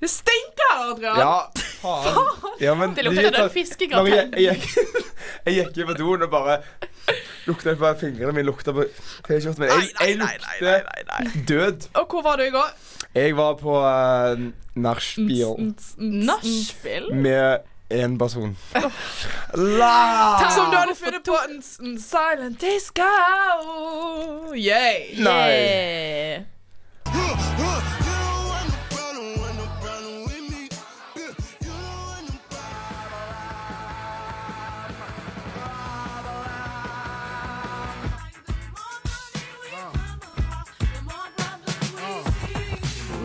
Det stinker her, Adrian! Ja, faen. Ja, men Det lukter tar- av fiskegrateng. Når Jeg, jeg, gikk- jeg gikk inn på doen og bare lukta på fingrene mine, lukta på T-skjorten min. Jeg, jeg lukter død. Og hvor var du i går? Jeg var på uh, nachspiel Nachspiel? med én person. La! Som du hadde funnet på en, s- en silent disco. Yay. Nei. Yeah.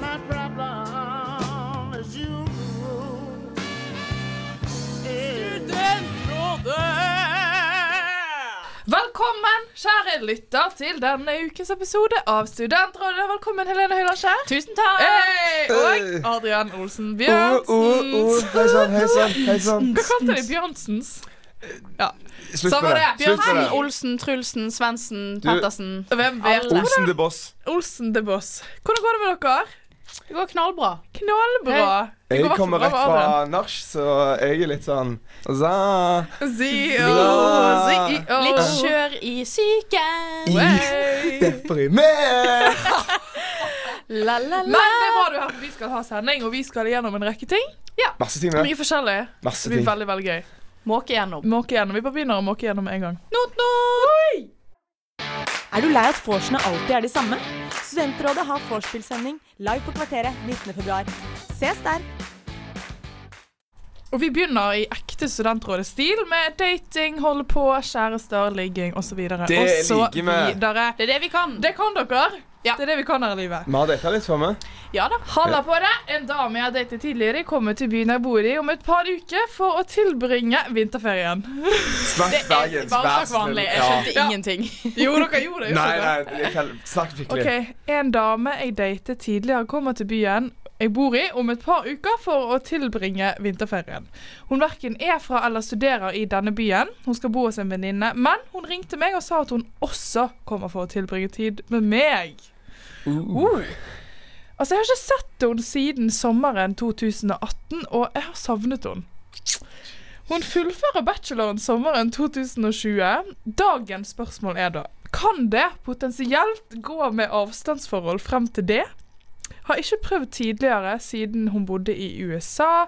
My problem is you. Velkommen, kjære lytter, til denne ukens episode av Studentrådet. Velkommen, Helene Høylandskjær. Tusen takk! Hey, Hey. og Adrian Olsen Oh, oh, oh. Bjørnsens. Hei sann, hei sann. hei sann. Hva kalte de Bjørnsens? Slutt Samme med det. det. Slutt med Bjørnsen, det. Olsen, Trulsen, Svendsen, Du- Pettersen. Hvem vet? Alle. Olsen the Boss. Olsen the Boss. Hvordan går det med dere? Det går knallbra. Knallbra. Det går Jeg hvertfall kommer bra rett med Adrian. fra nach, så jeg er litt sånn za. CEO, Bra. CEO. Litt kjør i I- psyken. Hey. Deprimert! La, la, Men la. det er bra du har. Vi skal ha sending, og vi skal igjennom en rekke ting. Masse ting, det. Mye forskjellig. Masse Det blir ting. veldig, veldig gøy. Måke gjennom. Måke igjennom. Vi bare begynner å måke igjennom med en gang. Not, not. Er du lei at vorsene alltid er de samme? Studentrådet har vorspielsending live på Kvarteret 19. februar. Ses der! Og vi begynner i ekte studentrådestil med dating, holde på, kjærester, ligging osv. Det liker vi. Det er det vi kan. Det kan dere. Ja. Det er det vi kan her i livet. Vi har dette litt for meg. Ja da. Halla på det! En dame jeg har datet tidligere, kommer til byen jeg bor i om et par uker for å tilbringe vinterferien. Snakk Bare bergensk. vær snakk snill. vanlig. Jeg Ja. skjønte Ja. ingenting. Jo, dere gjorde det. Nei, nei, jeg kan- snakk skikkelig. Ok, En dame jeg datet tidligere, kommer til byen jeg bor i om et par uker for å tilbringe vinterferien. Hun verken er fra eller studerer i denne byen. Hun skal bo hos en venninne, men hun ringte meg og sa at hun også kommer for å tilbringe tid med meg. Uh. Altså, Jeg har ikke sett henne siden sommeren 2018, og jeg har savnet henne. Hun fullfører bacheloren sommeren 2020. Dagens spørsmål er da Kan det potensielt gå med avstandsforhold frem til det? Har ikke prøvd tidligere siden hun bodde i USA,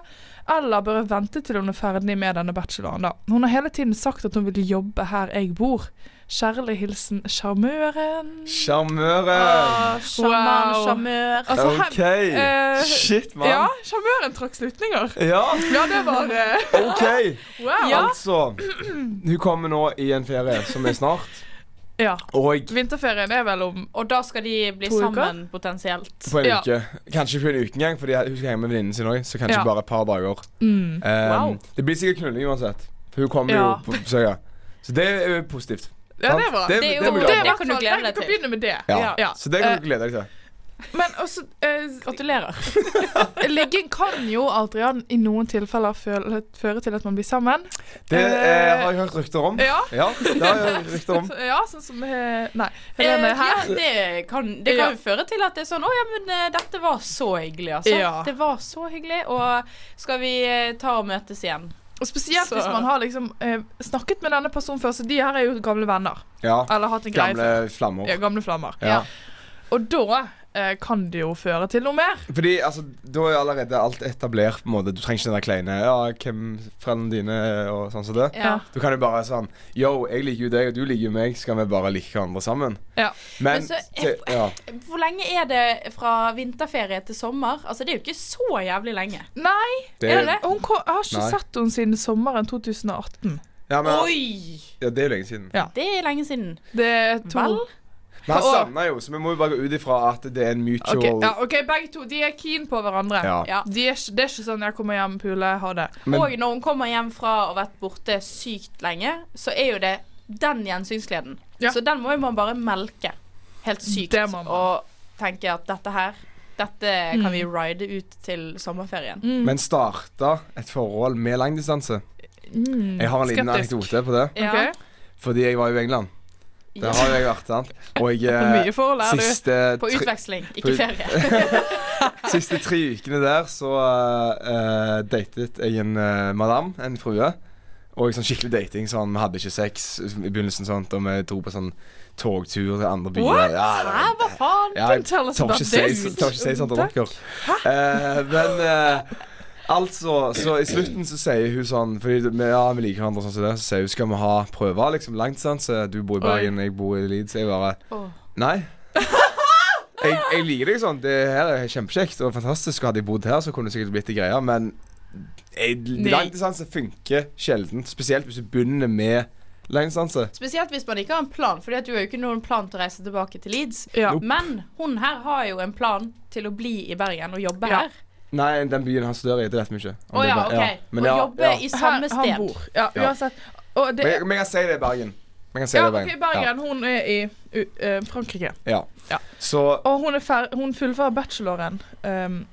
eller bør jeg vente til hun er ferdig med denne bacheloren, da. Hun har hele tiden sagt at hun vil jobbe her jeg bor. Kjærlig hilsen sjarmøren. Sjarmøren. Sjaman, Wow. sjarmør. Ah, Altså, her- OK. eh, Shit, Ja, mann. sjarmøren trakk slutninger. Ja. Ja, det var eh, OK. Wow. Ja. Altså, hun kommer nå i en ferie som er snart, og Vinterferien er vel om Og da skal de bli To uker? sammen potensielt. på en Ja. uke. Kanskje på en uke engang, fordi hun skal henge med venninnen sin òg. Så kanskje Ja. bare et par dager. mm. Um, Wow. Det blir sikkert knulling uansett, for hun kommer Ja. jo på besøk. ja. Så det er positivt. Ja, det er Sant? bra. Det, Det er det jo- må vi Det glede er oss. kan du hvertfall- Nei, glede deg Du kan til. begynne med det. Ja. Ja. Eh, Så det kan du glede deg til. Men også eh, Gratulerer. Ligging kan jo, Adrian, i noen tilfeller føle, føre til at man blir sammen. Det eh, eh, har jeg hørt rykter om. Ja. Ja, det har jeg hørt rykter om. Ja, sånn som eh, Nei, Eh, Helene ja, her. det kan, det Ja. kan jo føre til at det er sånn Å ja, men eh, dette var så hyggelig, altså. Ja. Det var så hyggelig. Og skal vi eh, ta og møtes igjen? Og spesielt Så- hvis man har liksom eh, snakket med denne personen før, så de her er jo gamle venner. Ja. Eller hatt en greie Gamle flammer. før. Ah, Ja, gamle flammer. Ja. Og da eh, kan det jo føre til noe mer. Fordi altså, da er allerede alt etablert. på en måte Du trenger ikke den der kleine Ja, hvem foreldrene dine er, og sånn som det. Ja. Du kan jo bare sånn Yo, jeg liker jo deg, og du liker jo meg. Skal vi bare like hverandre sammen? Ja. Men, Men så- til, ja. Hvor lenge er det fra vinterferie til sommer? Altså, det er jo ikke så jævlig lenge. Nei, Det, Er det det? hun ko- jeg har ikke Nei. sett henne siden sommeren 2018. Ja, men, Oi! ja, det er jo lenge siden. Det er lenge siden. Det er to Vel? Men han Og- savna jo, så vi må jo bare gå ut ifra at det er en mutual Ok, ja, OK, begge to. De er keen på hverandre. Ja. Ja. De er, ikke- det er ikke sånn 'jeg kommer hjem, pule, ha det'. Men- og når hun kommer hjem fra å ha vært borte sykt lenge, så er jo det den gjensynsgleden. Ja. Så den må jo man bare melke. Helt sykt. Det må man. Og tenke at dette her, dette kan Mm. vi ride ut til sommerferien. Men starta et forhold med langdistanse. Mm, Jeg har en liten skeptisk. anekdote på det. Ja. Ok. Fordi jeg var jo i England. Der har jeg vært, sant. Og jeg Hvor mye eh, forhold er du? siste På tre- utveksling, ikke ut- ferie. Siste tre ukene der så eh, datet jeg en eh, madam, en frue. Og sånn skikkelig dating. sånn, Vi hadde ikke sex i begynnelsen, sånt, og vi dro på sånn togtur til andre byer. What? Ja, det var- Hæ, hva faen? ja, jeg Don't tell us tør about ikke si this. tør ikke si sånt til dere. Eh, men eh, altså Så i slutten så sier hun sånn Fordi vi- ja, vi liker hverandre og sånn som det, så sier hun skal vi ha prøver liksom langt, sant. Så du bor i Bergen, jeg bor i Leeds. Jeg bare Åh. Nei. Jeg, jeg liker deg sånn. Det her er kjempekjekt og fantastisk. og Hadde jeg bodd her, så kunne det sikkert blitt en greie, men jeg- Nei. langdistanse funker sjelden. Spesielt hvis du begynner med langdistanse. Spesielt hvis man ikke har en plan, Fordi at du har jo ikke noen plan til å reise tilbake til Leeds. Ja. Men hun her har jo en plan til å bli i Bergen og jobbe Ja. her. Nei, den byen han studerer i, det vet vi ikke. Å Om det ja, er OK. bare- ja. Men og ja, jobbe ja. i samme Her han sted. bor. Ja, Ja. uansett. Og det Men jeg, men jeg kan si det er Bergen. Men Jeg kan si Ja, det er OK, Bergen. Bergen. Hun er i u, eh, Frankrike. Ja. Ja. ja. Så Og hun, er fer hun fullfører bacheloren. Um,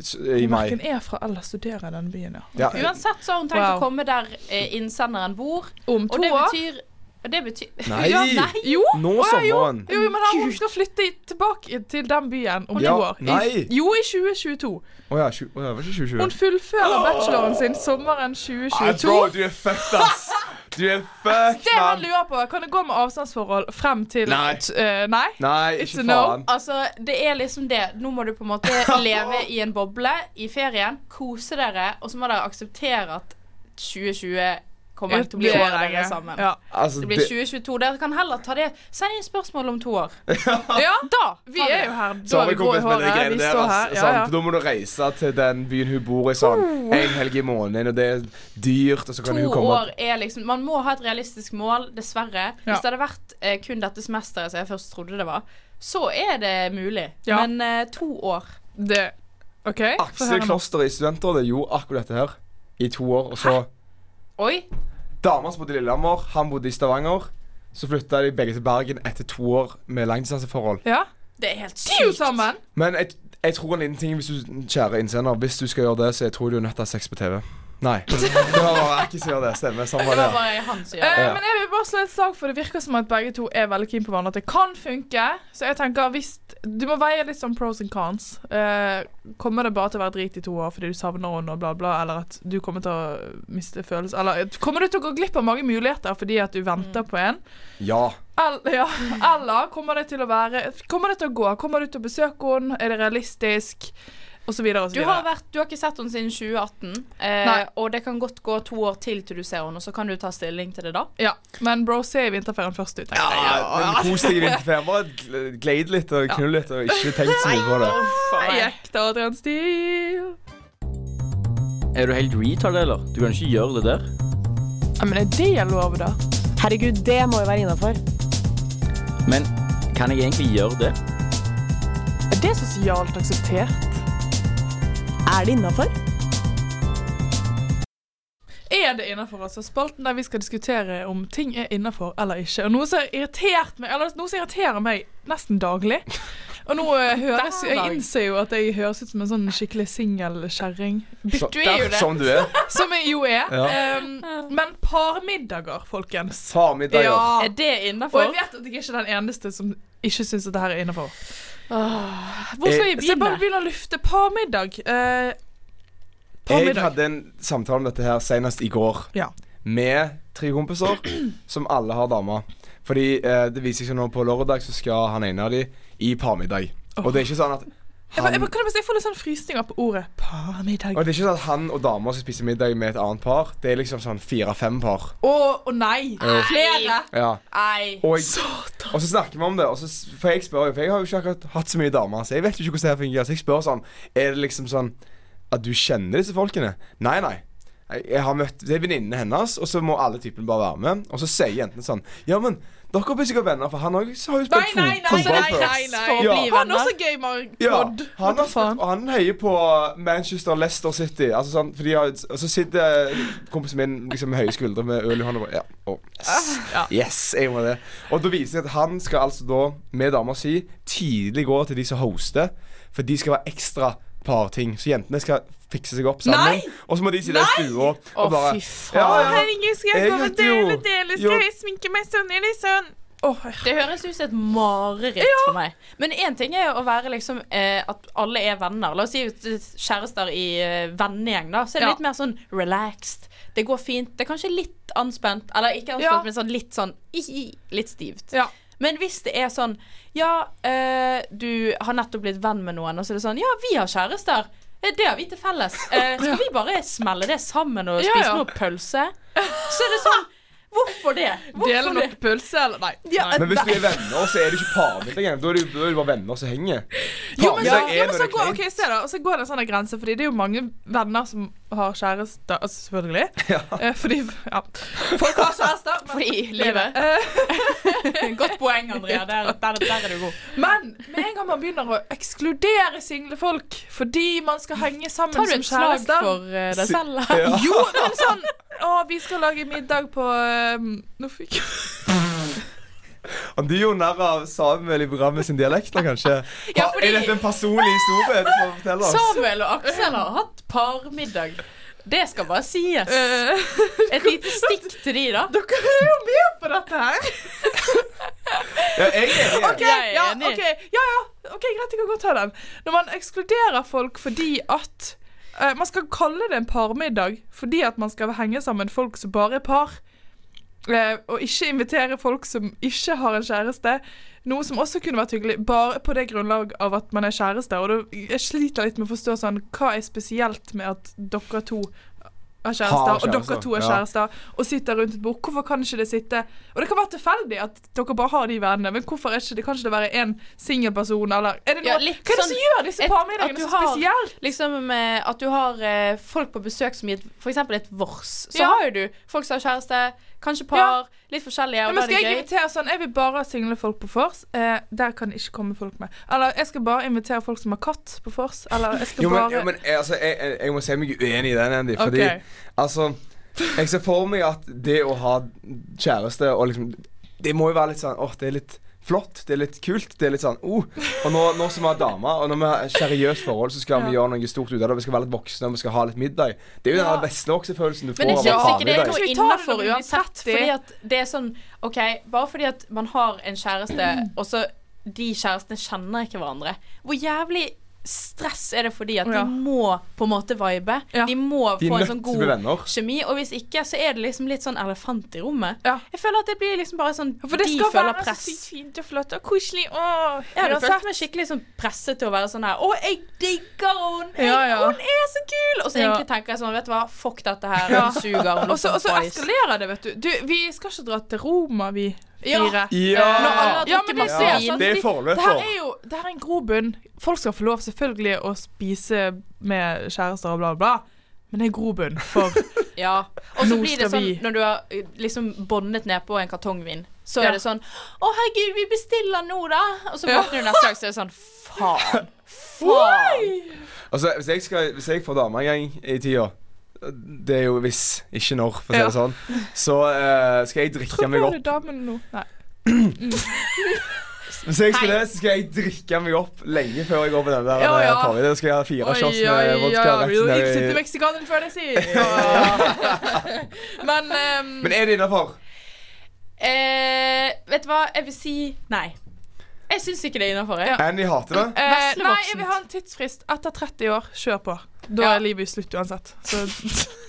s- i hun mai verken er fra eller studerer i denne byen, ja. ja, Uansett så har hun tenkt Wow. å komme der eh, innsenderen bor. Om Og to det år. betyr, og det betyr Nei. Ja, nei. Jo! Nå Å, ja, jo. sommeren. Jo, jo, men hun skal flytte i- tilbake til den byen om Ja, to år. I, nei. jo, i 2022. Å ja, tju- å ja, var ikke 2020? Hun fullfører bacheloren sin sommeren 2022. Bro, du er fucked, ass. Du er fucked, Det han mann. lurer på, kan det gå med avstandsforhold frem til Nei. t- eh, nei? Nei, It's a ikke no. faen. Altså, det er liksom det. Nå må du på en måte leve i en boble i ferien, kose dere, og så må dere akseptere at 2020 kommer ikke til å bli året dere er sammen. Ja. Altså, Det blir 2022. Dere kan heller ta det Send inn spørsmål om to år. ja, Da! vi er jo her. Så Da har er vi vi grå i kommet med de håret. greiene Vi der. altså. står ass. her. Ja, sant? ja. Da må du reise til den byen hun bor i sånn en helg i måneden, og det er dyrt, og så kan hun To komme år er liksom Man må ha et realistisk mål, dessverre. Ja. Hvis det hadde vært eh, kun dette semesteret som jeg først trodde det var, så er det mulig. Ja. Men eh, to år Det OK? få høre Sånn. Aksel nå. Kloster i Studentrådet gjorde akkurat dette her i to år, og så Oi! Dama som bodde i Lillehammer, han bodde i Stavanger. Så flytta de begge til Bergen etter to år med langdistanseforhold. Ja. Det er helt De er jo sykt. sammen! Men jeg, jeg tror en liten ting, hvis du, kjære innsender, hvis du skal gjøre det, så jeg tror du er nødt til å ha sex på TV. Nei. Det var bare ikke som gjør det. Stemmer. Samme var Det det. var bare han som gjør det. Eh, Ja. Men jeg vil bare slå et slag, for det virker som at begge to er veldig keen på hverandre. At det kan funke. Så jeg tenker hvis Du må veie litt sånn pros and cons. Eh, kommer det bare til å være drit i to år fordi du savner henne og bla, bla, eller at du kommer til å miste følelser Eller at- kommer du til å gå glipp av mange muligheter fordi at du venter på en? Ja. Eller, ja. eller kommer det til å være Kommer det til å gå? Kommer du til å besøke henne? Er det realistisk? Og så videre og så Du har, videre. vært, du har ikke sett henne siden 2018, eh, Nei. og det kan godt gå to år til til du ser henne, og så kan du ta stilling til det da. Ja, men bro, se i vinterferien først ut. ja, Ah, Men kos deg i vinterferien. Bare gl- gled litt og knull litt, og ikke tenk så mye på det. Ekte Adrian Steele. Er du helt retard, eller? Du kan ikke gjøre det der. Ja, men er det lov, da? Herregud, det må jo være innafor. Men kan jeg egentlig gjøre det? Er det sosialt akseptert? Er det innafor? Er det innafor? Altså, spalten der vi skal diskutere om ting er innafor eller ikke. Og noe som har irritert meg, eller noe som irriterer meg nesten daglig. Og nå eh, høres Hver Jeg dag. innser jo at jeg høres ut som en sånn skikkelig singelkjerring. Så- Du er jo det. Som du er. Som jeg jo er. Ja. Um, men parmiddager, folkens. Ta middager. Ja. Er det Og jeg innafor? vet at jeg er ikke den eneste som ikke syns at det her er innafor. Hvor skal Eh, vi begynne? Så jeg bare begynner å lufte. Parmiddag. Eh, Jeg parmiddag. hadde en samtale om dette her senest i går Ja. med tre kompiser som alle har damer. Fordi eh, det viser seg nå på lørdag så skal han ene av de i parmiddag. Og det er ikke sånn at Jeg, bare- jeg, bare- han, kan jeg, bare si- jeg får litt sånn frysninger på ordet parmiddag. og det er ikke sånn at han og dama skal spise middag med et annet par. Det er liksom sånn fire-fem par. Å, å nei! Flere! Ja. Nei. Og, og så snakker vi om det. Og så, s- for jeg spør jo, for jeg har jo ikke akkurat hatt så mye damer, så jeg vet jo ikke hvordan det her fungerer. Så jeg spør sånn Er det liksom sånn at du kjenner disse folkene? Nei, nei. Jeg jeg har møtt, Det er venninnene hennes, og så må alle typene bare være med. Og så sier jentene sånn Ja, men dere blir sikkert venner, for han har jo har Nei, jo spilt nei, nei, fot- fotball nei, før. nei, nei. For å Ja. bli Han er venner. også gamer-pod. Ja, han, har spilt, og han heier på Manchester Leicester City. Altså sånn, for de har, og så sitter kompisen min liksom, med høye skuldre med øl i hånda. og bare, Ja, å, Ah, yes, yes, jeg må det. Og da viser det at han skal altså da, med dama si, tidlig gå til de som hoster. For de skal være ekstra parting. Så jentene skal fikse seg opp sammen. Nei! Og så må de sitte i stua og bare fy faen. ja, ja. Herregud, skal jeg Jeg komme og hadde jo- dele, dele? Skal jo- jeg sminke meg sånn eller sånn? Åh, jeg- Det høres ut som et mareritt for meg. Men én ting er jo å være liksom eh, at alle er venner. La oss si hvis det er kjærester i eh, vennegjeng, da. Så er det Ja. litt mer sånn relaxed. Det går fint. Det er kanskje litt anspent. Eller ikke anspent, Ja. men sånn litt sånn i-i, litt stivt. Ja. Men hvis det er sånn Ja, eh, du har nettopp blitt venn med noen, og så er det sånn Ja, vi har kjærester. Eh, Det har vi til felles. Eh, skal vi bare smelle det sammen og Ja, spise ja. noe pølse? Så er det sånn Hvorfor det? Hvorfor Dele det? nok pølse, eller nei. nei. Men hvis du er venner, så er du ikke pavete lenger. Da er du, da er du bare venner som henger. Jo, men, så, Pavete jo, er men når så, det er går, kleint. ok, se da, og så går det en sånn grense, fordi det er jo mange venner som har kjærester, altså selvfølgelig. Eh, Fordi, ja. Folk har kjærester, men Fordi livet. Eh, Godt poeng, Andrea. Der, der, der er du god. Men med en gang man begynner å ekskludere single folk fordi man skal henge sammen Tar du som et slag kjærester for eh, deg selv? da? Ja. Jo, men sånn Å, vi skal lage middag på ehm, Nå fikk jeg Han du gjorde narr av Samuel i programmet sin dialekt, da, kanskje? Ja, Ha- fordi- Er dette en personlig historie? Du får fortelle oss. Samuel og Aksel har hatt parmiddag. Det skal bare sies. Eh, Et lite stikk til de, da. Dere er jo med på dette her! Ja, jeg er enig. Ok, Jeg er ja, enig. ok, ja, ja, ok, greit, jeg kan godt ta den. Når man ekskluderer folk fordi at eh, Man skal kalle det en parmiddag fordi at man skal henge sammen folk som bare er par. eh, og ikke invitere folk som ikke har en kjæreste. Noe som også kunne vært hyggelig, bare på det grunnlag av at man er kjæreste. Og da jeg sliter litt med å forstå sånn Hva er spesielt med at dere to har kjærester, Har og dere kjærester, to er ja. kjærester, og sitter rundt et bord. Hvorfor kan ikke det sitte Og det kan være tilfeldig at dere bare har de vennene, men hvorfor er ikke det, kan ikke det være én singel person, eller er det noe, Ja, litt Hva er det sånn som gjør disse et- at parmiddagene du så har- spesielt? Liksom eh, At du har eh, folk på besøk som gir f.eks. et vors. Så Ja. har jo du folk som har kjæreste, kanskje par, litt forskjellige, Ja, og men da skal er jeg det gøy. invitere sånn Jeg vil bare ha single folk på vors. Eh, der kan det ikke komme folk med. Eller jeg skal bare invitere folk som har katt på vors. Eller jeg skal Jo, men, bare jo, men jeg- altså, jeg, jeg, jeg må si meg uenig i den, Andy. Fordi Ok. altså Jeg ser for meg at det å ha kjæreste og liksom Det må jo være litt sånn åh, det er litt flott, det er litt kult. Det er litt sånn oh. Og nå, nå som vi har damer, og når vi har et seriøst forhold, så skal vi gjøre noe stort ut av det. Vi skal være litt voksne, og vi skal ha litt middag. Det er jo den beste voksefølelsen du får Men jeg av en syns ikke det er parmiddag. Kanskje noe vi tar det når innafor vi blir 30? uansett. Fordi at det er sånn OK, bare fordi at man har en kjæreste, Mm. og så de kjærestene kjenner ikke hverandre. Hvor jævlig stress er det fordi at Ja. de må på en måte vibe? Ja. De må De er få nødt en sånn til å bli god venner. kjemi, og hvis ikke, så er det liksom litt sånn elefant i rommet. Ja. Jeg føler at det blir liksom bare sånn For det De skal føler være press. så sykt fint og flott og koselig. Åh, Jeg hadde uansett. følt meg skikkelig sånn presset til å være sånn her Å, jeg digger hun! Jeg, Ja, ja. Hun er så kul! Og så Ja. egentlig tenker jeg sånn, vet du hva, fuck dette her. Ja. Hun suger. Hun sånn Og så, låter og så boys. eskalerer det, vet du. du. Vi skal ikke dra til Roma, vi Ja. fire. Eh, Ja! Når alle har Ja, men det drukket masse er vin. sant. Det er Det forløp her for. er jo det her er en grobunn. Folk skal få lov selvfølgelig å spise med kjærester og bla, bla. Men det er grobunn for eh, Ja. Og så Nå blir skal det sånn vi- når du har eh, liksom bondet nedpå en kartongvin, så Ja. er det sånn Å, herregud, vi bestiller nå, da! Og så Ja. våkner du neste dag, så er det sånn Faen. Faen. Altså, hvis jeg, skal, hvis jeg får dame en gang i tida Det er jo hvis, ikke når, for å si det Ja. sånn. Så eh, skal jeg drikke meg Prøver du opp. damen nå? Nei. Hvis jeg skal det, så skal jeg drikke meg opp lenge før jeg går på den der. Ja, eh, ja. party. Da skal jeg ha fire shots med vodka. rett Real ned i- Ibsen til meksikaneren før det sier. Men ehm, Men er det innafor? Eh, vet du hva, jeg vil si nei. Jeg syns ikke det er innafor. Ja. Andy hater det. eh, Nei, Vesle voksent. jeg vil ha en tidsfrist. Etter 30 år, kjør på. Da Ja. er livet slutt uansett. Så,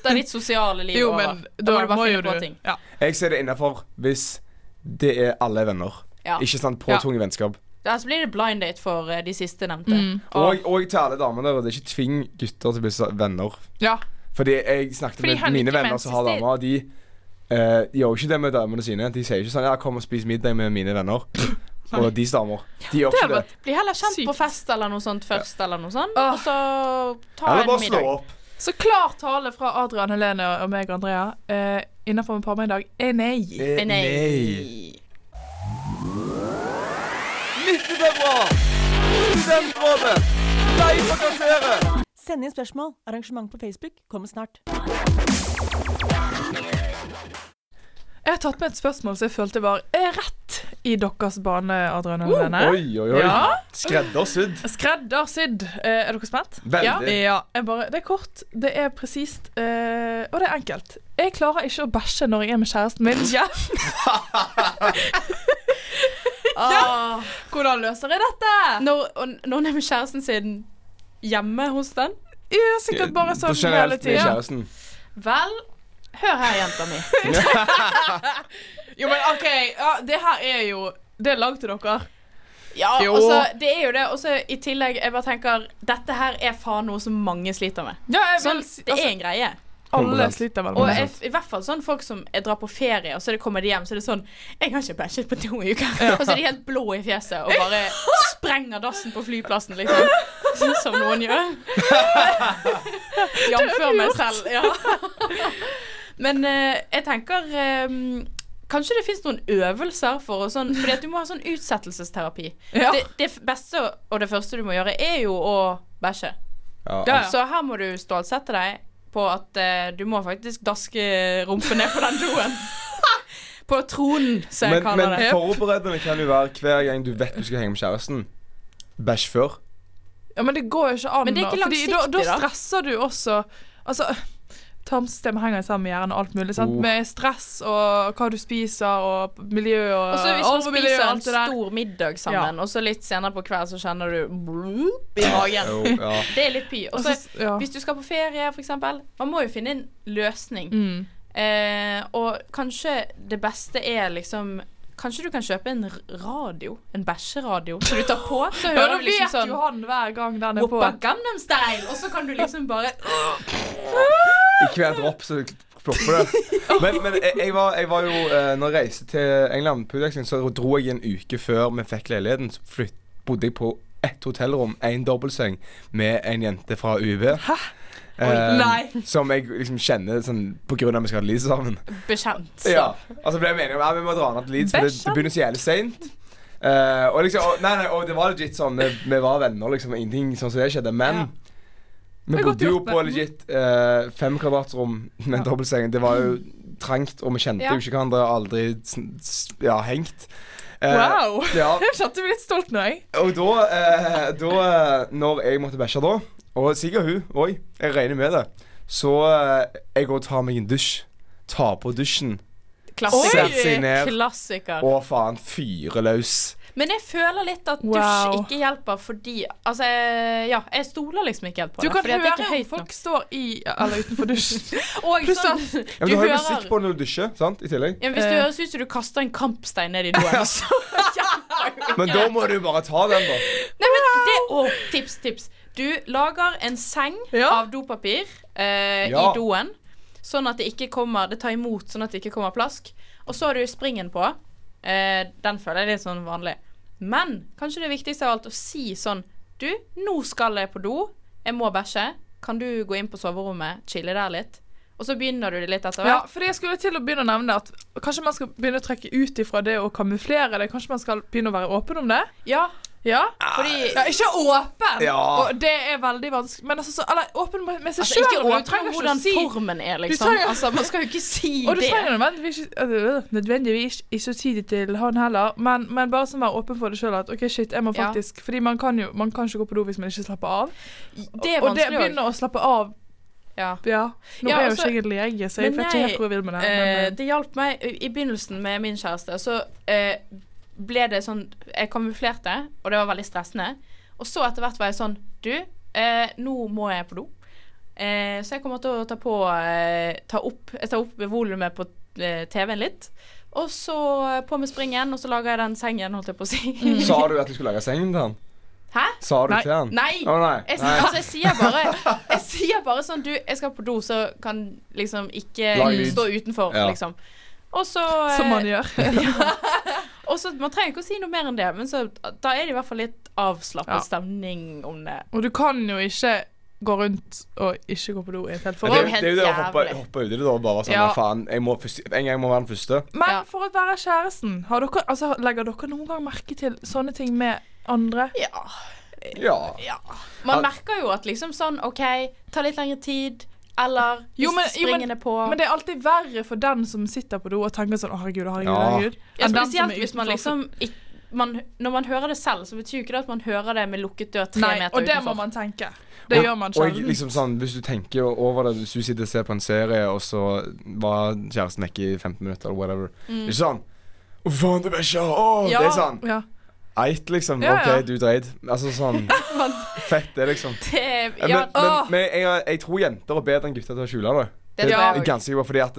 Da er ditt sosiale liv jo, over. men da må du bare må finne jo du på ting. ja. Jeg ser det innafor hvis det er alle venner. Ja. Ikke sant? Påtvunget vennskap. Ja, så blir det blind date for eh, de siste nevnte. Mm. Og, og til alle damene der, og det er ikke tving gutter til å bli så- venner. ja. Fordi jeg snakket Fordi med han mine ikke venner som har menses damer, og de eh, gjør jo ikke det med damene sine. De sier ikke sånn 'ja, kom og spis middag med mine venner'. og deres damer. De gjør Det hadde ikke det. vært Bli heller kjent Sykt. på fest eller noe sånt først, eller noe sånt. Åh. Og så ta Eller en bare slå middag. opp. Så klar tale fra Adrian Helene og meg og Andrea eh, innenfor en parmiddag er nei. Eh, Eh, Nei. Studentrådet! Nei, for kassere! Send inn spørsmål. Arrangement på Facebook kommer snart. Jeg har tatt med et spørsmål som jeg følte var eh, rett i deres bane, Adrian Oh. og Helene. Oi, oi, oi. Ja. Skreddersydd. Skreddersydd. Eh, Er dere spent? Veldig. Ja. ja. Jeg bare, det er kort, det er presist, eh, og det er enkelt. Jeg klarer ikke å bæsje når jeg er med kjæresten min. Ja. Ah. Hvordan løser jeg dette? Når, og når hun er med kjæresten sin hjemme hos den Ja, sikkert bare På sånn hele generelt med tiden. kjæresten. Vel, hør her, jenta mi. Jo, men OK, ja, det her er jo Det er langt til dere. Ja, Jo. altså, det er jo det. Og så i tillegg, jeg bare tenker Dette her er faen noe som mange sliter med. Ja, jeg Sånn, vil si altså- det er en greie. Alle 100%. sliter vel Og med det. jeg, i hvert fall sånn folk som jeg drar på ferie, og så det kommer de hjem, så er det sånn 'Jeg har ikke bæsjet på to uker.' Og så er de helt blå i fjeset og bare sprenger dassen på flyplassen, liksom. Sånn Som noen gjør. Jf. meg selv. Ja. Men eh, jeg tenker eh, Kanskje det fins noen øvelser for å sånn Fordi at du må ha sånn utsettelsesterapi. Ja. Det, det beste og det første du må gjøre, er jo å bæsje. Ja, Ja, ja. Så her må du stålsette deg på at eh, du må faktisk daske rumpen ned på den doen. på tronen, som jeg Men, kaller men det. forberedende kan jo være hver gang du vet du skal henge med kjæresten. Bæsj før. Ja, men det går jo ikke an. Men det er da, ikke fordi langsiktig, da, da. da stresser du også Altså, tarmsystemet henger sammen med hjernen og alt mulig. Sant? Oh. Med stress og hva du spiser og miljø og Og så hvis man arvemiljø spiser og en alt det der. stor middag sammen, og så litt senere på kvelden så kjenner du bloop i Jo, magen. ja. Det er litt py. Og Og så så- ja. hvis du skal på ferie, for eksempel Man må jo finne en løsning. Mm. Eh, og kanskje det beste er liksom Kanskje du kan kjøpe en r- radio? En bæsjeradio som du tar på, så Ja, da hører du vet liksom sånn jo han hver gang den er på. Woppa Gangnam Style! Og så kan du liksom bare I hver dropp så plopper det. Men, men jeg, jeg, var, jeg var jo eh, Når jeg reiste til England på utveksling, så dro jeg en uke før vi fikk leiligheten. Så flytt, bodde jeg på ett hotellrom, én dobbeltseng, med en jente fra UiB. Hæ? nei. Som jeg liksom kjenner sånn, på grunn av at vi skal ha Leeds sammen. bekjent. Så. Ja, altså ble jeg meningen om ja, vi må dra ned til Leeds, for det, det begynner så jævlig seint. Eh, og, liksom, og, nei, nei, og det var legit sånn, vi, vi var venner, liksom, og ingenting sånn som det skjedde. Men Ja. vi er godt bodde jo gjort, på men- legit eh, fem kvadratsrom med en dobbeltseng. Det var jo trangt, og vi kjente Ja. jo ikke hverandre, aldri sn- s- ja, hengt. Eh, Wow. Ja, Jeg kjente meg litt stolt nå, jeg. og da, eh, da eh, Når jeg måtte bæsje da, og sikkert hun òg, jeg regner med det, så eh, jeg går og tar meg en dusj. Tar på dusjen. Klassiker. Sett seg ned. Klassiker. Å, faen. Fyre løs. Men jeg føler litt at Wow. dusj ikke hjelper fordi Altså, jeg- ja, jeg stoler liksom ikke helt på Du det. kan fordi høre at det er ikke om høyt folk nok. står i eller utenfor dusjen. Og Pluss sånn, Ja, men du, har jo musikk på når du dusjer, sant? I tillegg. ja, men Hvis du Eh. høres ut som du kaster en kampstein ned i doen, så Men da må du bare ta den, da. Nei, men det Å, tips, tips. Du lager en seng Ja. av dopapir eh, Ja. i doen, sånn at det ikke kommer Det tar imot, sånn at det ikke kommer plask. Og så har du springen på. Eh, den føler jeg er litt sånn vanlig. Men kanskje det viktigste av alt å si sånn Du, nå skal jeg på do. Jeg må bæsje. Kan du gå inn på soverommet, chille der litt? Og så begynner du det litt etter Ja, hvert. fordi jeg skulle til å begynne å nevne at kanskje man skal begynne å trekke ut ifra det å kamuflere det. Kanskje man skal begynne å være åpen om det. Ja. Ja. fordi altså, Ja, ikke åpen! Ja. Og det er veldig vanskelig. Men altså, så, eller, åpen med med seg altså, sjøl. Ikke og du åpne om trenger ikke å hvordan si formen er, liksom. trenger- altså, man skal jo ikke si Og du det. trenger nødvendigvis, ikke- øh, nødvendigvis ikke å si det til han heller, men, men bare sånn være åpen for det sjøl. At OK, shit, jeg må Ja. faktisk Fordi man kan jo man kan ikke gå på do hvis man ikke slapper av. Det er og det vanskelig også. begynner å slappe av. Ja. Ja. Nå Ja, er jeg jo altså- ikke jeg en lege, så jeg Men vet ikke nei, helt hvor jeg vil med det. Eh, men, det hjalp meg i- i begynnelsen med min kjæreste. Så eh, ble det sånn Jeg kamuflerte, og det var veldig stressende. Og så etter hvert var jeg sånn Du, eh, nå må jeg på do. Eh, så jeg kommer til å ta på eh, ta opp, Jeg tar opp volumet på eh, TV-en litt. Og så eh, på med springen, og så lager jeg den sengen, holdt jeg på å si. Sa du at du skulle lage sengen til han? Hæ? Sa du Nei. til han? Nei! Å, nei. Jeg, s- nei. altså, jeg sier bare Jeg sier bare sånn Du, jeg skal på do, så kan liksom ikke Lag lyd. stå utenfor, Ja. liksom. Og så eh, eh, som man gjør. og så, Man trenger ikke å si noe mer enn det, men så, da er det i hvert fall litt avslappet Ja. stemning om det. Og du kan jo ikke gå rundt og ikke gå på do i et helt Men forhold. det, var jo helt det er jo det å hoppe, jævlig. hoppe uti det da, og bare være sånn Ja. «Nei, faen, jeg må først, en gang jeg må være den første. Men Ja. for å være kjæresten, har dere, altså, legger dere noen gang merke til sånne ting med andre? Ja. Ja. Man Ja. merker jo at liksom sånn OK, ta litt lengre tid. Eller hvis Jo, men- jo, men- springene på. Men det er alltid verre for den som sitter på do og tenker sånn 'Å, herregud, å, herregud', Ja. herregud ja, enn den som spesielt er hvis man utenfor. liksom ikk- man, Når man hører det selv, så betyr jo ikke det at man hører det med lukket dør tre Nei, meter og det utenfor. må man tenke. Det gjør man Og sjelden. jeg, liksom sånn, Hvis du tenker over det, hvis du sitter og ser på en serie, og så var kjæresten vekke i 15 minutter, eller whatever Mm. Ikke sånn Å, faen, du blir ikke Å, Det er sånn Ja. Eit, liksom. Ja, ja. OK, du dreid. Altså sånn Fett, det, liksom. Det- Men, ja, men, Åh. men jeg, jeg tror jenter er bedre enn gutter til å skjule det. Det Jeg tror jeg er også. ganske sikker på, fordi at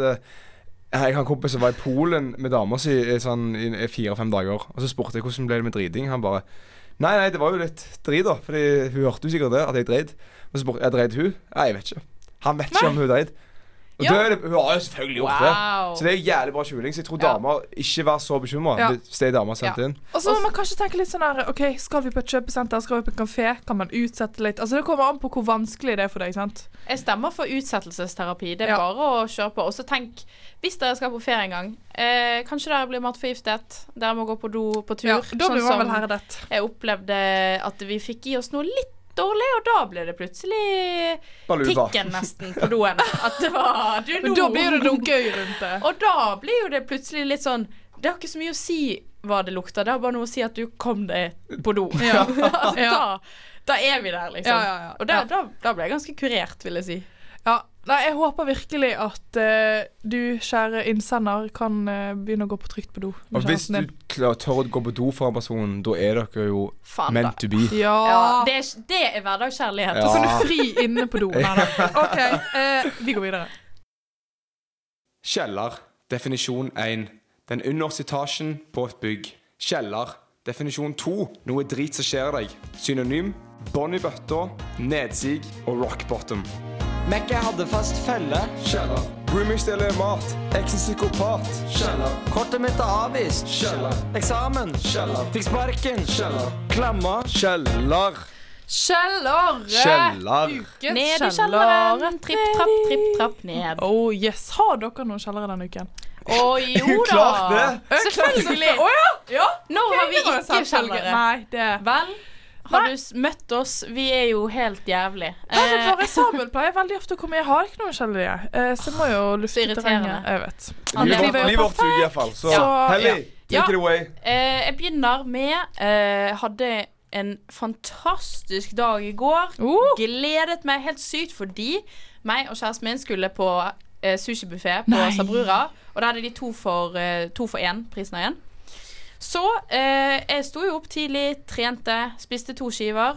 eh, jeg har en kompis som var i Polen med dama si i sånn, i fire-fem dager. Og så spurte jeg hvordan ble det med driting. Han bare Nei, nei, det var jo litt drit, da. Fordi hun hørte jo sikkert det, at jeg dreit. Og så spurte jeg dreit hun. Nei, jeg vet ikke. Han vet ikke om hun dreit. Og Ja. da er det, hun har jo selvfølgelig gjort Wow. det. Så det er jo jævlig bra skjuling. Så jeg tror Ja. damer ikke vær så bekymra. Ja. Hvis det er damer sendt Ja. inn. Og så må man kanskje tenke litt sånn her OK, skal vi på et kjøpesenter, skal vi på en kafé? Kan man utsette litt? Altså Det kommer an på hvor vanskelig det er for deg, sant? Jeg stemmer for utsettelsesterapi. Det er Ja. bare å kjøre på. Og så tenk, hvis dere skal på ferie en gang, eh, kanskje dere blir matforgiftet. Dere må gå på do på tur. sånn Ja, da blir man vel herdet. jeg opplevde at vi fikk i oss noe litt dårlig, og da ble det plutselig Baluba. pikken nesten på doen. At det var du, Men nå. da blir det noe gøy rundt det. Og da blir jo det plutselig litt sånn Det har ikke så mye å si hva det lukter, det har bare noe å si at du kom deg på do. Ja. At Ja. Da, da er vi der, liksom. Ja, ja, ja. Og da, Ja. da, da ble jeg ganske kurert, vil jeg si. Ja. Nei, jeg håper virkelig at eh, du, kjære innsender, kan eh, begynne å gå på trygt på do. med Og hvis kjæresten du din. klar- tør å gå på do foran personen, da er dere jo Faen, da. meant to be. Ja. Ja, det, er, det er hverdagskjærlighet. Ja. Så kan du fri inne på do. Nei, nei. OK, eh, vi går videre. Kjeller. Definisjon 1. Den underste etasjen på et bygg. Kjeller. Definisjon 2. Noe drit som skjer deg. Synonym bånd i bøtta, nedsig og rock bottom. Mekke hadde fast følge. Kjeller. Roomies deler mat. Eksen psykopat. Kjeller. Kortet mitt er avvist. Kjeller. Eksamen. Kjeller. Fikk sparken. Kjeller. Klemma. Kjeller. Kjeller! Kjeller. Ukens Ned i kjelleren. Tripp, trapp, tripp, trapp, ned. Oh yes. Har dere noen kjellere denne uken? Å jo Hun da! klarte det. Selvfølgelig. Å ja! ja. Nå Ok, har vi det var en ikke selvfølge. kjellere. Nei, det Vel, har du s- møtt oss? Vi er jo helt jævlig. Nei, men Eh, bare Samuel pleier veldig ofte å komme Jeg har ikke noen kjeller, jeg. Eh, så jeg må jo lufte irriterende. terrenget. Jeg vet. Han Livet lever vårt- jo livet vårt suger iallfall. Så Ja. Helly, Ja. take it away. Eh, jeg begynner med eh, Hadde en fantastisk dag i går. Oh. Gledet meg helt sykt fordi meg og kjæresten min skulle på eh, sushibuffé på Nei. Sabrura. Og da hadde de to for eh, to for én, prisen av én. Så eh, jeg sto jo opp tidlig, trente, spiste to skiver.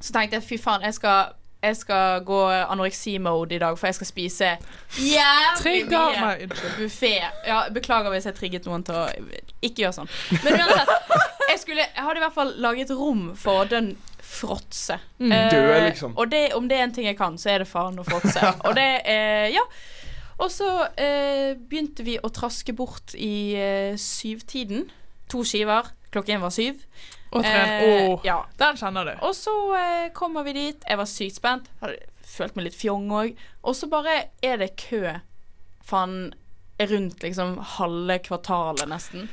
Så tenkte jeg fy faen, jeg skal, jeg skal gå anoreksi-mode i dag, for jeg skal spise jævlig Trigger mye meg. buffé. Ja, beklager hvis jeg trigget noen til å ikke gjøre sånn. Men uansett, jeg, skulle, jeg hadde i hvert fall laget rom for den fråtse. Mm. Eh, Død, liksom. Og det, om det er en ting jeg kan, så er det faen å fråtse. Og det eh, Ja. Og så eh, begynte vi å traske bort i eh, syvtiden. To skiver. Klokken var syv. Og tren. Eh, Åh. ja. Den kjenner du. Og så eh, kommer vi dit. Jeg var sykt spent. Hadde følt meg litt fjong òg. Og så bare er det kø faen rundt liksom halve kvartalet, nesten.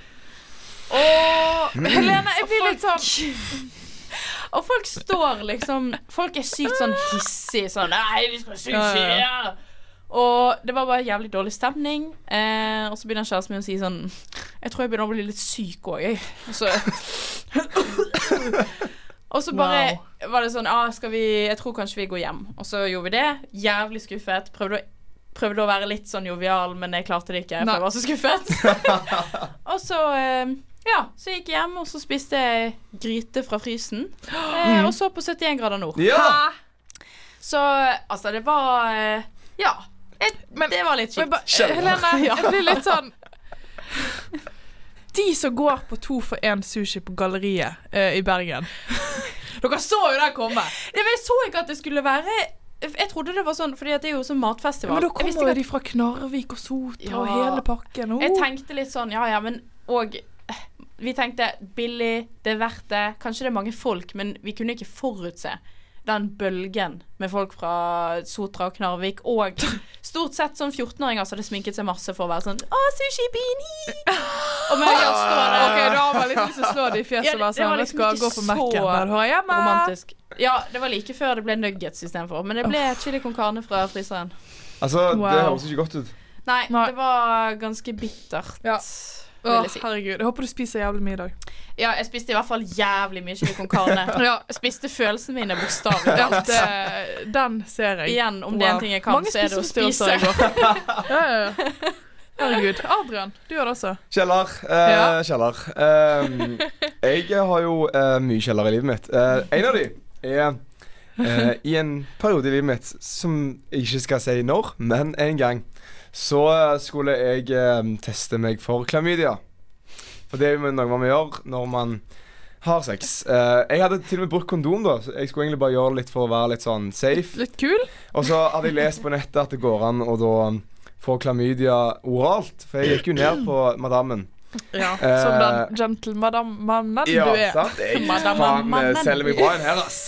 Og Helene, jeg blir litt sånn Og folk står liksom Folk er sykt sånn hissige sånn Nei, vi skal sushi! Ja, ja, Ja. Og det var bare jævlig dårlig stemning. Eh, og så begynner kjæresten min å si sånn Jeg tror jeg begynner å bli litt syk òg, jeg. Og så Og så bare var det sånn ah, skal vi, Jeg tror kanskje vi går hjem. Og så gjorde vi det. Jævlig skuffet. Prøvde å Prøvde å være litt sånn jovial, men jeg klarte det ikke, for Nei. jeg var så skuffet. og så eh, ja, så gikk jeg hjem, og så spiste jeg gryte fra frysen. Mm. eh, Og så på 71 grader nord. Ja! Så altså, det var eh, Ja. Jeg, Men- det var litt Men kjipt. ba, Helene, jeg blir litt sånn De som går på to for én sushi på galleriet eh, i Bergen Dere så jo den komme. Nei, men jeg så ikke at det skulle være Jeg trodde det var sånn, fordi at det er jo sånn matfestival. Men da jeg, kommer visste jo ikke de fra Knarvik og Sotra og Ja. hele pakken. at, Oh. jeg tenkte litt sånn, ja ja, men og eh, Vi tenkte billig, det er verdt det. Kanskje det er mange folk, men vi kunne ikke forutse den bølgen med folk fra Sotra og Knarvik og stort sett sånn 14-åringer som hadde sminket seg masse for å være sånn Å, sushi bean! hi!» Og meg og står der. Ok, da har man litt lyst til å slå det i fjeset Ja, og være det var sånn Vet liksom du hva, ikke gå på så Mac-en der du hører hjemme. romantisk. Ja, det var like før det ble nuggets istedenfor. Men det ble chili con carne fra fryseren. Altså, det Wow. høres ikke godt ut. Nei, Nei. det var ganske bittert. Ja. Å, Vil jeg si. herregud. Jeg håper du spiser jævlig mye i dag. Ja, jeg spiste i hvert fall jævlig mye chili con carne. Ja. Jeg spiste følelsene mine bokstavelig Ja, talt. det, den ser jeg. Igjen, om det er en ting jeg kan, Mange så er det å spiser spise. ostyrter i Ja, ja, ja. Herregud. Adrian, du gjør det også. Kjeller. Eh, Ja. Kjeller. Ehm, jeg har jo eh, mye kjeller i livet mitt. Eh, en av de er eh, I en periode i livet mitt som jeg ikke skal si når, men en gang, så eh, skulle jeg eh, teste meg for klamydia. For det er jo noe man må gjøre når man har sex. Eh, jeg hadde til og med brukt kondom, da. Så jeg skulle egentlig bare gjøre det litt for å være litt sånn safe. Litt kul. Og så hadde jeg lest på nettet at det går an å da få klamydia oralt. For jeg gikk jo ned på Madammen. Ja, Eh, som den gentleman-mannen du er. sant? Jeg Madame faen eh, Mannen. selger meg bra en her, ass.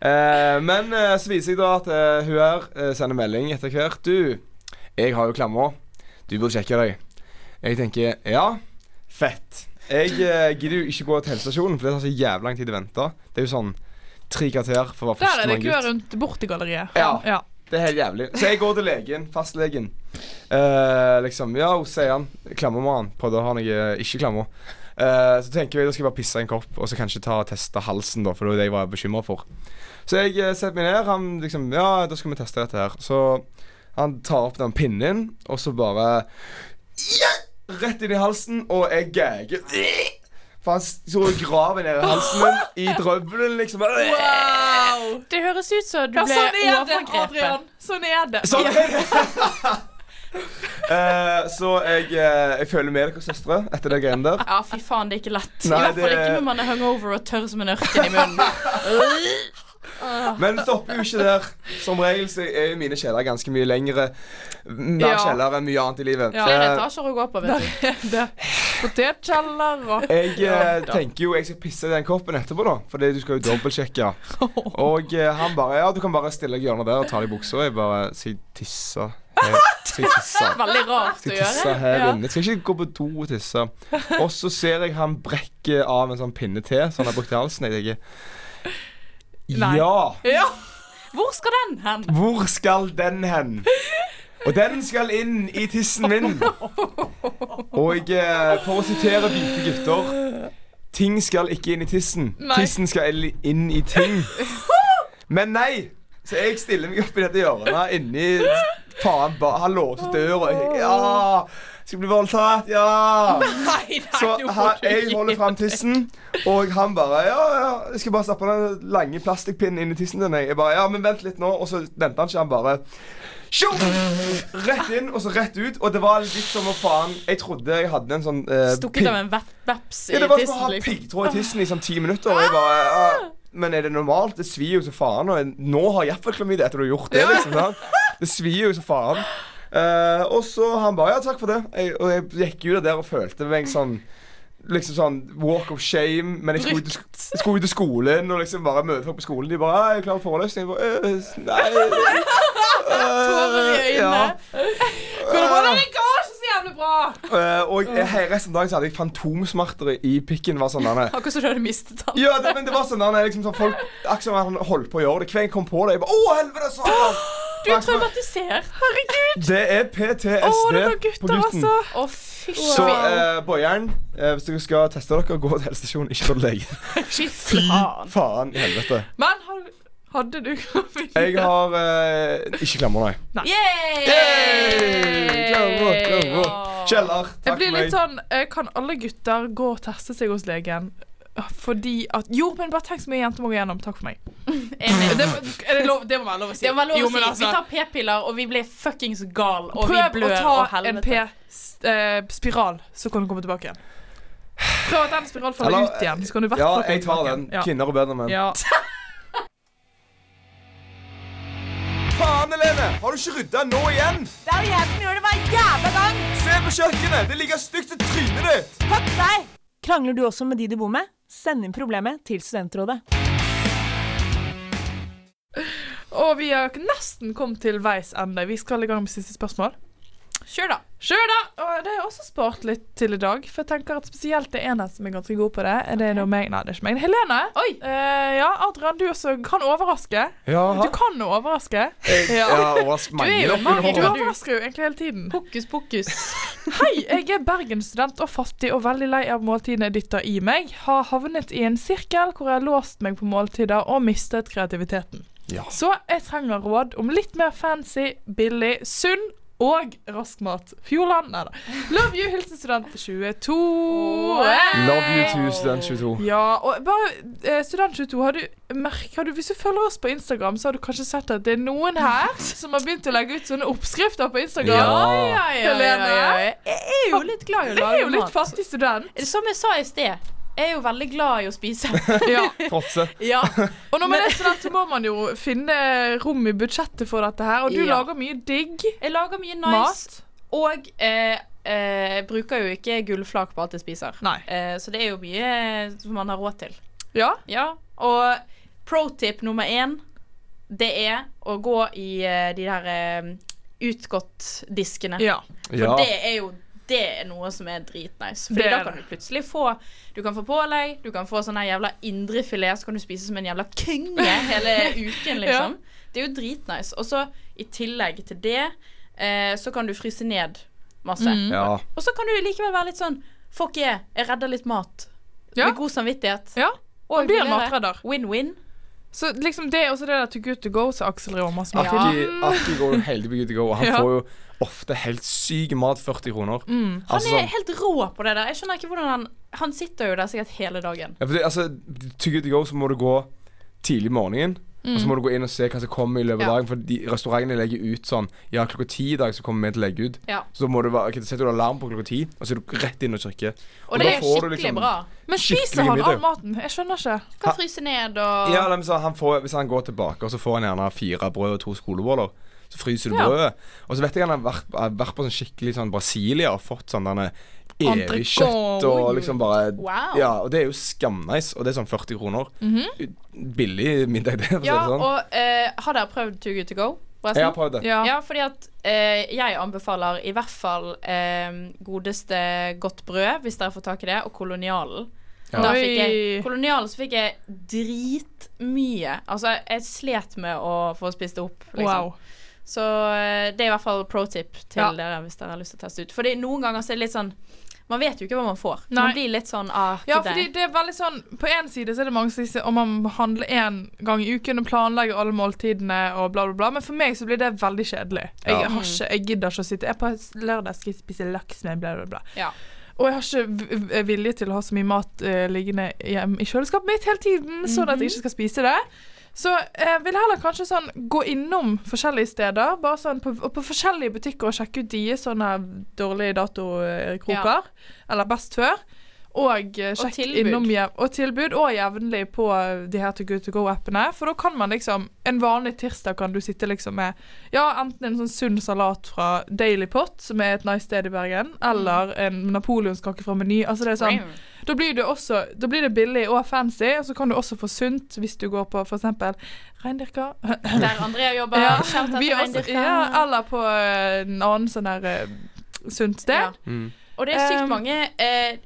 Eh, men eh, så viser jeg da at eh, hun her eh, sender melding etter hvert. Du, jeg har jo klammer. Du burde sjekke deg. Jeg tenker ja, fett. Jeg eh, gidder jo ikke gå til helsestasjonen, for det tar så jævlig lang tid å vente. Det er jo sånn tre kvarter for å være Der er det førstemann kø gutt. rundt borti galleriet. Ja. ja. Det er helt jævlig. Så jeg går til legen, fastlegen. Eh, liksom, ja, hun sier han. Klammer med han. Prøvde å ha noe ikke klammer. Eh, så tenker jeg da skal jeg bare pisse i en kopp og så kanskje ta og teste halsen, da, for det var det jeg var bekymra for. Så jeg eh, setter meg ned. Han liksom Ja, da skal vi teste dette her. Så han tar opp den pinnen, og så bare ja! Rett inn i halsen, og jeg gagger. For han sto og graver ned i halsen min, i drøvelen, liksom. Wow! Det høres ut som du Ja, ble sånn er det, overgrepet. Adrian. Sånn er det. Sånn. Eh, så jeg, eh, jeg føler med dere søstre etter det greiene der. Ja, fy faen, det er ikke lett. Nei, I hvert fall det- ikke når man er hungover og tørr som en ørken i munnen. Men det stopper jo ikke der. Som regel så er jo mine kjeller ganske mye lengre. Mer Ja. kjeller enn mye annet i livet. Ja. Flere Eh, etasjer å gå på, vet du. det. Potetkjeller og jeg eh, tenker jo jeg skal pisse i den koppen etterpå, da. Fordi du skal jo dobbeltsjekke. Og eh, han bare Ja, du kan bare stille deg i hjørnet der og ta deg i buksa. Jeg bare Skal jeg tisse her? Skal jeg tisse? Veldig rart Skal å jeg tisse gjøre. her Ja. inne? Skal jeg ikke gå på do og tisse? Og så ser jeg han brekke av en sånn pinne til som han har brukt i halsen. Jeg tenker Nei. Ja! Ja! Hvor skal den hen? Hvor skal den hen? Og den skal inn i tissen min. Og eh, for å sitere hvite gutter Ting skal ikke inn i tissen. Nei. Tissen skal el- inn i ting. Men nei! Så jeg stiller meg opp i dette hjørnet inni Faen, ba, han låste døra. Jeg tenker, Ja! Skal bli voldtatt. Ja! Nei, nei, Så nå må her, du jeg gi holder fram tissen, og han bare Ja, ja, jeg skal bare stappe den lange plastikkpinnen inn i tissen din. Jeg Jeg bare, ja, men vent litt nå. Og så venter han ikke, han bare Tjo! Rett inn, og så rett ut. Og det var litt som å faen Jeg trodde jeg hadde en sånn eh, Stukket av en vet- veps i Ja, det var som å tissen. ha liksom. piggtråd i tissen i sånn ti minutter. Og jeg bare ja, Men er det normalt? Det svir jo så faen. Og jeg- nå har jeg iallfall klamydia etter du har gjort det, liksom. Sant? Det svir jo så faen. Eh, og så han bare ja, takk for det. Jeg, og jeg gikk jo der og følte meg sånn Liksom sånn walk of shame, men jeg skulle, ut, jeg skulle ut til skolen og liksom bare møte folk på skolen. De bare «Ja, 'Jeg er klar for forelesning.' Jeg bare «Øh, Nei Eh, Tårer i øynene. Går det bra? Nei, det går ikke så jævlig bra. Eh, og jeg, hei, resten av dagen så hadde jeg fantomsmerter i pikken. Var sånn derne. Akkurat som du hadde mistet den. Ja, det, men det var sånn derne, liksom, sånn folk, Akkurat som han holdt på å gjøre det. Hver gang jeg kom på det, jeg bare Å, helvete! Satan! Du er traumatisert. Herregud. Det er PTSD Å, det var gutter, altså. Å, fy Så eh, Boyeren, eh, hvis dere skal teste dere, gå til helsestasjonen, ikke gå til legen. Fy faen. Faen i helvete. Men har du- hadde du Jeg har eh, ikke klammer, nei. Yay! Klammer, klammer. Kjeller, Jeg takk blir for litt meg. sånn eh, Kan alle gutter gå og teste seg hos legen? Fordi at Jo, men bare tenk så mye jenter må gå gjennom. Takk for meg. Enig. Det, er det, lov, det må være lov å si. Det var lov Jo, å si. men altså, Vi tar p-piller, og vi ble fuckings gal. Og Prøv vi å blør og ta en helvete. p-spiral, så kan du komme tilbake igjen. Prøv at den spiralen faller Eller, ut igjen. Så kan du i hvert Ja, fall komme jeg tar tilbake den. igjen. Ja. Kvinner er bedre menn. Ja. Faen, Helene! Har du ikke rydda nå igjen? Det er jo jeg som gjør det hver jævla gang! Se på kjøkkenet! Det ligger stygt i trynet ditt! Fuck deg! Krangler du også med de du bor med? Send inn problemet til Studentrådet. Og vi har nesten kommet til veis ende. Vi skal i gang med siste spørsmål. Kjør, da. Kjør, da! Og det har jeg også spart litt til i dag. For jeg tenker at spesielt det ene som er ganske god på det. Er det noe meg? Nei, det er ikke meg. Helene. Oi! Eh, ja, Adrian, du også kan overraske. Du kan jo overraske. Jeg har overrasket er mange jo da. en Du magiker, du. overrasker jo egentlig hele tiden. Hokus pokus. Hei, jeg er bergensstudent og fattig og veldig lei av måltidene dytta i meg. Har havnet i en sirkel hvor jeg har låst meg på måltider og mistet kreativiteten. Ja. Så jeg trenger råd om litt mer fancy, billig, sunn og rask mat. Fjordland, nei da. Love you, hilsen student 22. Love you too, student 22. Ja, og bare eh, Student 22, har du merk- har du, hvis du følger oss på Instagram, så har du kanskje sett at det er noen her som har begynt å legge ut sånne oppskrifter på Instagram. Ja. Ja, ja, Helene. ja, ja. Jeg er jo litt glad i å Det er lage jo litt mat. fattig student. Som jeg sa i sted, jeg er jo veldig glad i å spise. Ja. Trotse. ja. Og når man er student, så må man jo finne rom i budsjettet for dette her. Og du Ja. lager mye digg Jeg lager mye nice, mat. og eh, eh, bruker jo ikke gullflak på alt jeg spiser. Nei. Eh, så det er jo mye som man har råd til. Ja. Ja, og pro tip nummer én, det er å gå i eh, de der eh, utgått-diskene. ja. Ja. For det er jo det er noe som er dritnice. Det Fordi er da kan det. du plutselig få Du kan få pålegg, du kan få sånn her jævla indrefilet, så kan du spise som en jævla konge hele uken, liksom. Det er jo dritnice. Og så i tillegg til det, eh, så kan du fryse ned masse. Mm. Ja. Og så kan du likevel være litt sånn Fuck yeah, jeg redder litt mat. Ja. Med god samvittighet. ja. Og blir en billigere. matredder. Win-win. Så liksom det er også det der to good to go som Aksel driver masse med. Aki, Aki går jo helt i good to go. og Han Ja. får jo ofte helt syk mat, 40 kroner. Mm. Han Altså, er sånn- helt rå på det der. Jeg skjønner ikke hvordan han Han sitter jo der sikkert hele dagen. Ja, for det, altså, to good to go, så må du gå tidlig om morgenen. Og så må du gå inn og se hva som kommer i løpet av Mm. Ja. dagen. For de, restaurantene legger ut sånn Ja, klokka ti i dag så kommer vi til å legge ut. Ja. Så da må du være, ok, da setter du alarm på klokka ti, og så er du rett inn og trykker. Og det da er får du skikkelig liksom- bra. Men spiser Skikkelig han all middag. maten? Jeg skjønner ikke. Kan fryse ned og Ja, nei, men så han får, Hvis han går tilbake, og så får han gjerne fire brød og to skoleboller. Så fryser du Ja. brødet. Og så vet jeg han har vært, har vært på sånn skikkelig sånn Brasilia og fått sånn denne evig Entrecôte. kjøtt og liksom bare Wow. Mhm. Ja, og det er jo skamnice, og det er sånn 40 kroner. Billig middag, det, for å si Ja, det sånn. og eh, har dere prøvd Too Good To Go? forresten? Jeg har prøvd det. Ja. Ja, fordi at eh, jeg anbefaler i hvert fall eh, godeste Godt Brød, hvis dere får tak i det, og Kolonialen. Ja. Da fikk jeg, Oi. kolonialen så fikk jeg dritmye. Altså, jeg slet med å få spist det opp. Liksom. Wow. Så eh, det er i hvert fall pro tip til Ja. dere hvis dere har lyst til å teste ut. Fordi noen ganger så er det litt sånn Man vet jo ikke hva man får. Nei. Man blir litt sånn ah, Ja, gidder fordi jeg. det er veldig sånn På én side så er det mange som sier om man må handle én gang i uken og planlegge alle måltidene og bla, bla, bla. Men for meg så blir det veldig kjedelig. Jeg, Ja. har ikke, jeg gidder ikke å sitte Jeg på lørdag skal jeg spise laks med bla, bla, bla. Ja. Og jeg har ikke v- v- vilje til å ha så mye mat eh, liggende hjem i kjøleskapet mitt hele tiden, sånn Mhm. at jeg ikke skal spise det. Så jeg vil heller kanskje sånn gå innom forskjellige steder, bare sånn på, og på forskjellige butikker og sjekke ut de sånne dårlige eh, Ja. datokroker, eller best før. Og eh, sjekk tilbud. innom jev og tilbud, og jevnlig på eh, de her To Good To Go-appene. For da kan man liksom En vanlig tirsdag kan du sitte liksom med ja, enten en sånn sunn salat fra Daily Pot, som er et nice sted i Bergen, Mm. eller en napoleonskake fra Meny. Altså det er sånn, da blir det også da blir det billig og fancy, og så kan du også få sunt hvis du går på f.eks. reindyrka. Der Andrea jobber. Ja, shout out vi til også- reindyrkeren. ja, eller på eh, en annen sånn her eh, sunt sted. Ja. Mm. Og det er sykt Um, mange eh,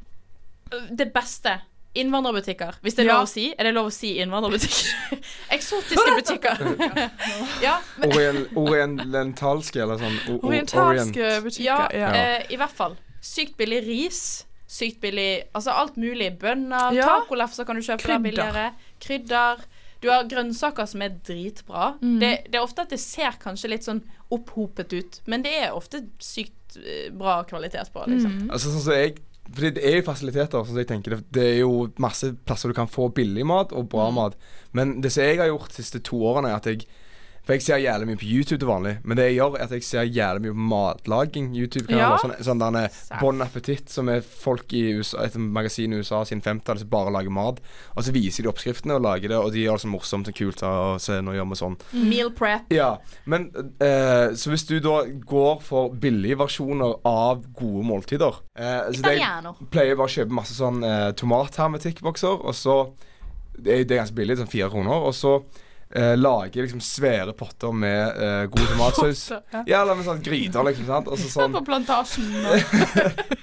Det beste innvandrerbutikker. Hvis det er Ja. lov å si. Er det lov å si innvandrerbutikker? Eksotiske butikker. ja, men, Orien, orientalske eller sånn o- o- Orientalske orient. ja, butikker. Ja. eh, i hvert fall. Sykt billig ris. Sykt billig altså alt mulig. Bønner, Ja. tacolefser kan du kjøpe der Krydder. billigere. Krydder. Du har grønnsaker som er dritbra. Mm. Det, det er ofte at det ser kanskje litt sånn opphopet ut, men det er ofte sykt eh, bra kvalitet på, liksom. Altså sånn som jeg fordi Det er jo fasiliteter. sånn som jeg tenker det, det er jo masse plasser du kan få billig mat og bra mat. Men det som jeg har gjort de siste to årene, er at jeg For jeg ser jævlig mye på YouTube til vanlig, men det jeg gjør, er at jeg ser jævlig mye på matlaging. YouTube-kanaler. Ja. Sånn, sånn derne Bon Appetit, som er folk i USA, et magasin i USA siden 50-tallet som bare lager mat. Og så viser de oppskriftene og lager det, og de gjør det så morsomt og kult. Og se, nå gjør vi sånn. Mm. Meal prep. Ja, men eh, Så hvis du da går for billige versjoner av gode måltider eh, så det- Italiano. Jeg pleier bare å kjøpe masse sånn eh, tomathermetikkbokser, og så det er, det er ganske billig, sånn fire kroner. Og så eh, lager liksom svære potter med eh, god tomatsaus. Så, ja. Ja, eller med sånn gryter, liksom. sant? Og så sånn, På plantasjen.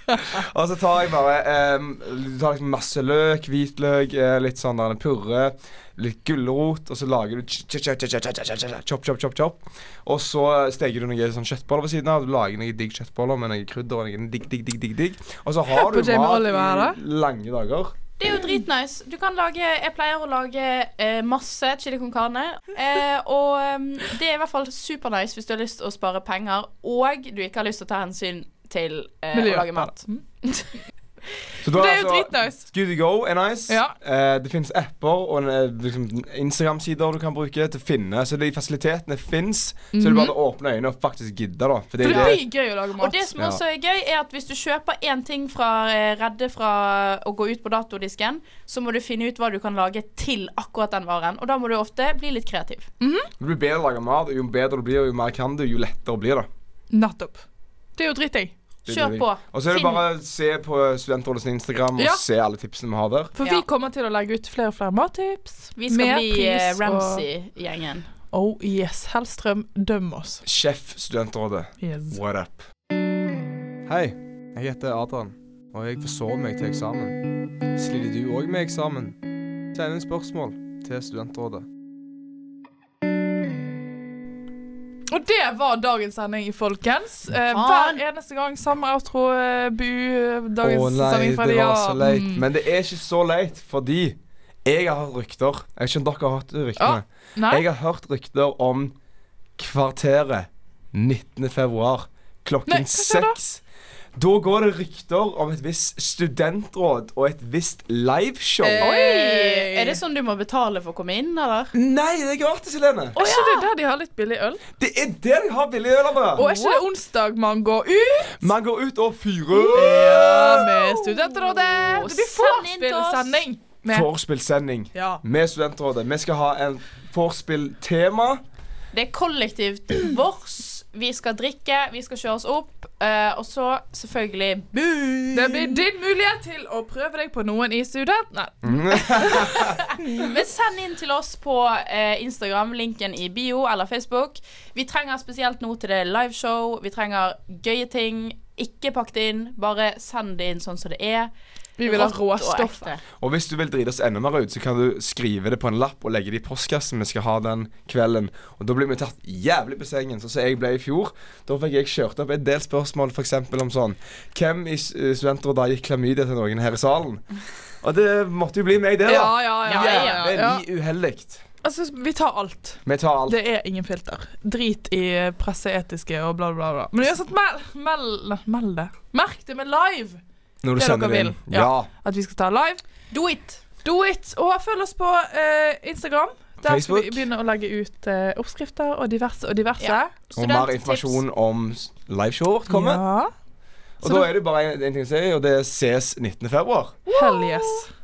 og- og så tar jeg bare em, Du tar liksom masse løk, hvitløk, eh, litt sånn der, purre, litt gulrot, og så lager du ch- ch- ch- ch- ch- ch- ch- ch- chop, chop, chop, chop. Og så steker du noen sånn kjøttboller ved siden av. Du lager noen digg kjøttboller med noe krydder og noen digg, digg, digg, digg, digg. Og så har på du Jamie Oliver her, da. mat i lange dager. Det er jo dritnice. Du kan lage Jeg pleier å lage eh, masse chili con carne. Eh, og em, det er i hvert fall supernice hvis du har lyst til å spare penger, og du ikke har lyst til å ta hensyn til eh, å Miljø. lage mat. Så da Det er jo altså- dritnice. Good to go er nice. Ja. Eh, det finnes apper og en, eh, liksom, Instagram-sider du kan bruke til å finne. Så de fasilitetene fins. Så det er bare å åpne øynene og faktisk gidde, da. Fordi Mhm. For det det, blir gøy å lage Og mat. det som Ja. også er gøy, er at hvis du kjøper én ting fra eh, Redde fra å gå ut på datodisken, så må du finne ut hva du kan lage til akkurat den varen. Og da må du ofte bli litt kreativ. det blir bedre å lage mat, og jo bedre du blir, jo mer kan du, jo lettere blir det. Nettopp. Det er jo dritting. Det Kjør blir- på. Og så er det Finn. bare å se på Studentrådets Instagram og Ja. se alle tipsene vi har der. For Ja. vi kommer til å legge ut flere og flere mattips. Vi skal med bli pris eh, og- Ramsay-gjengen. Oh yes, Hellstrøm, døm oss. Sjef Studentrådet, Yes. what up? Hei, jeg heter Adrian, og jeg forsov meg til eksamen. Sliter du òg med eksamen? Send inn spørsmål til Studentrådet. Og det var dagens sending, folkens. Eh, Faen. hver eneste gang samme outro, eh, bu, eh, dagens Å nei, sending det fra de var ja. så leit. Mm. Men det er ikke så leit, fordi jeg har hørt rykter. Jeg vet ikke om dere har hørt ryktene. Nei? Jeg har hørt rykter om kvarteret 19. februar Nei, hva klokken skjer da? seks. Da går det rykter om et visst studentråd og et visst liveshow. Eh. Oi! Er det sånn du må betale for å komme inn, eller? Nei, det er gratis, Helene! Er ikke det der de har litt billig øl? Det er der de har billige øl. Anna. Og er ikke det onsdag man går ut Man går ut og fyrer. med Studentrådet? Det blir Send inn til oss. vorspiel-sending. med- Vorspielsending Ja. med Studentrådet. Vi skal ha en vorspiel-tema. Det er kollektivt vårs. Vi skal drikke, vi skal kjøre oss opp. eh, og så selvfølgelig bu. Det blir din mulighet til å prøve deg på noen i student... Nei. Mm. Men send inn til oss på eh, Instagram, linken i bio eller Facebook. Vi trenger spesielt noe til det liveshow. Vi trenger gøye ting. Ikke pakk det inn, bare send det inn sånn som det er. Vi vil ha Rått og råstoff. ekte. Og hvis du vil drite oss enda mer ut, så kan du skrive det på en lapp og legge det i postkassen vi skal ha den kvelden. Og da blir vi tatt jævlig på sengen, sånn som jeg ble i fjor. Da fikk jeg kjørt opp en del spørsmål f.eks. om sånn Hvem i s- eh, Studentrådet har gitt klamydia til noen her i salen? Og det måtte jo bli meg, det, Ja, da. ja, ja. ja, ja, ja. Jævlig uheldig. Altså, vi tar alt. Vi tar alt. Det er ingen filter. Drit i presseetiske og bla, bla, bla. Men uansett, meld, meld, meld det. Merk det med live! Når du det sender dere det inn. vil. Ja. Ja. At vi skal ta live. Do it! Do it! Og følg oss på eh, Instagram. Der Facebook. skal vi begynne å legge ut eh, oppskrifter og diverse og diverse. Ja. Og mer Studenttips. informasjon om s- liveshowet vårt kommer. Ja. Og da er det bare en, en ting å si, og det ses 19. februar. Hell yes.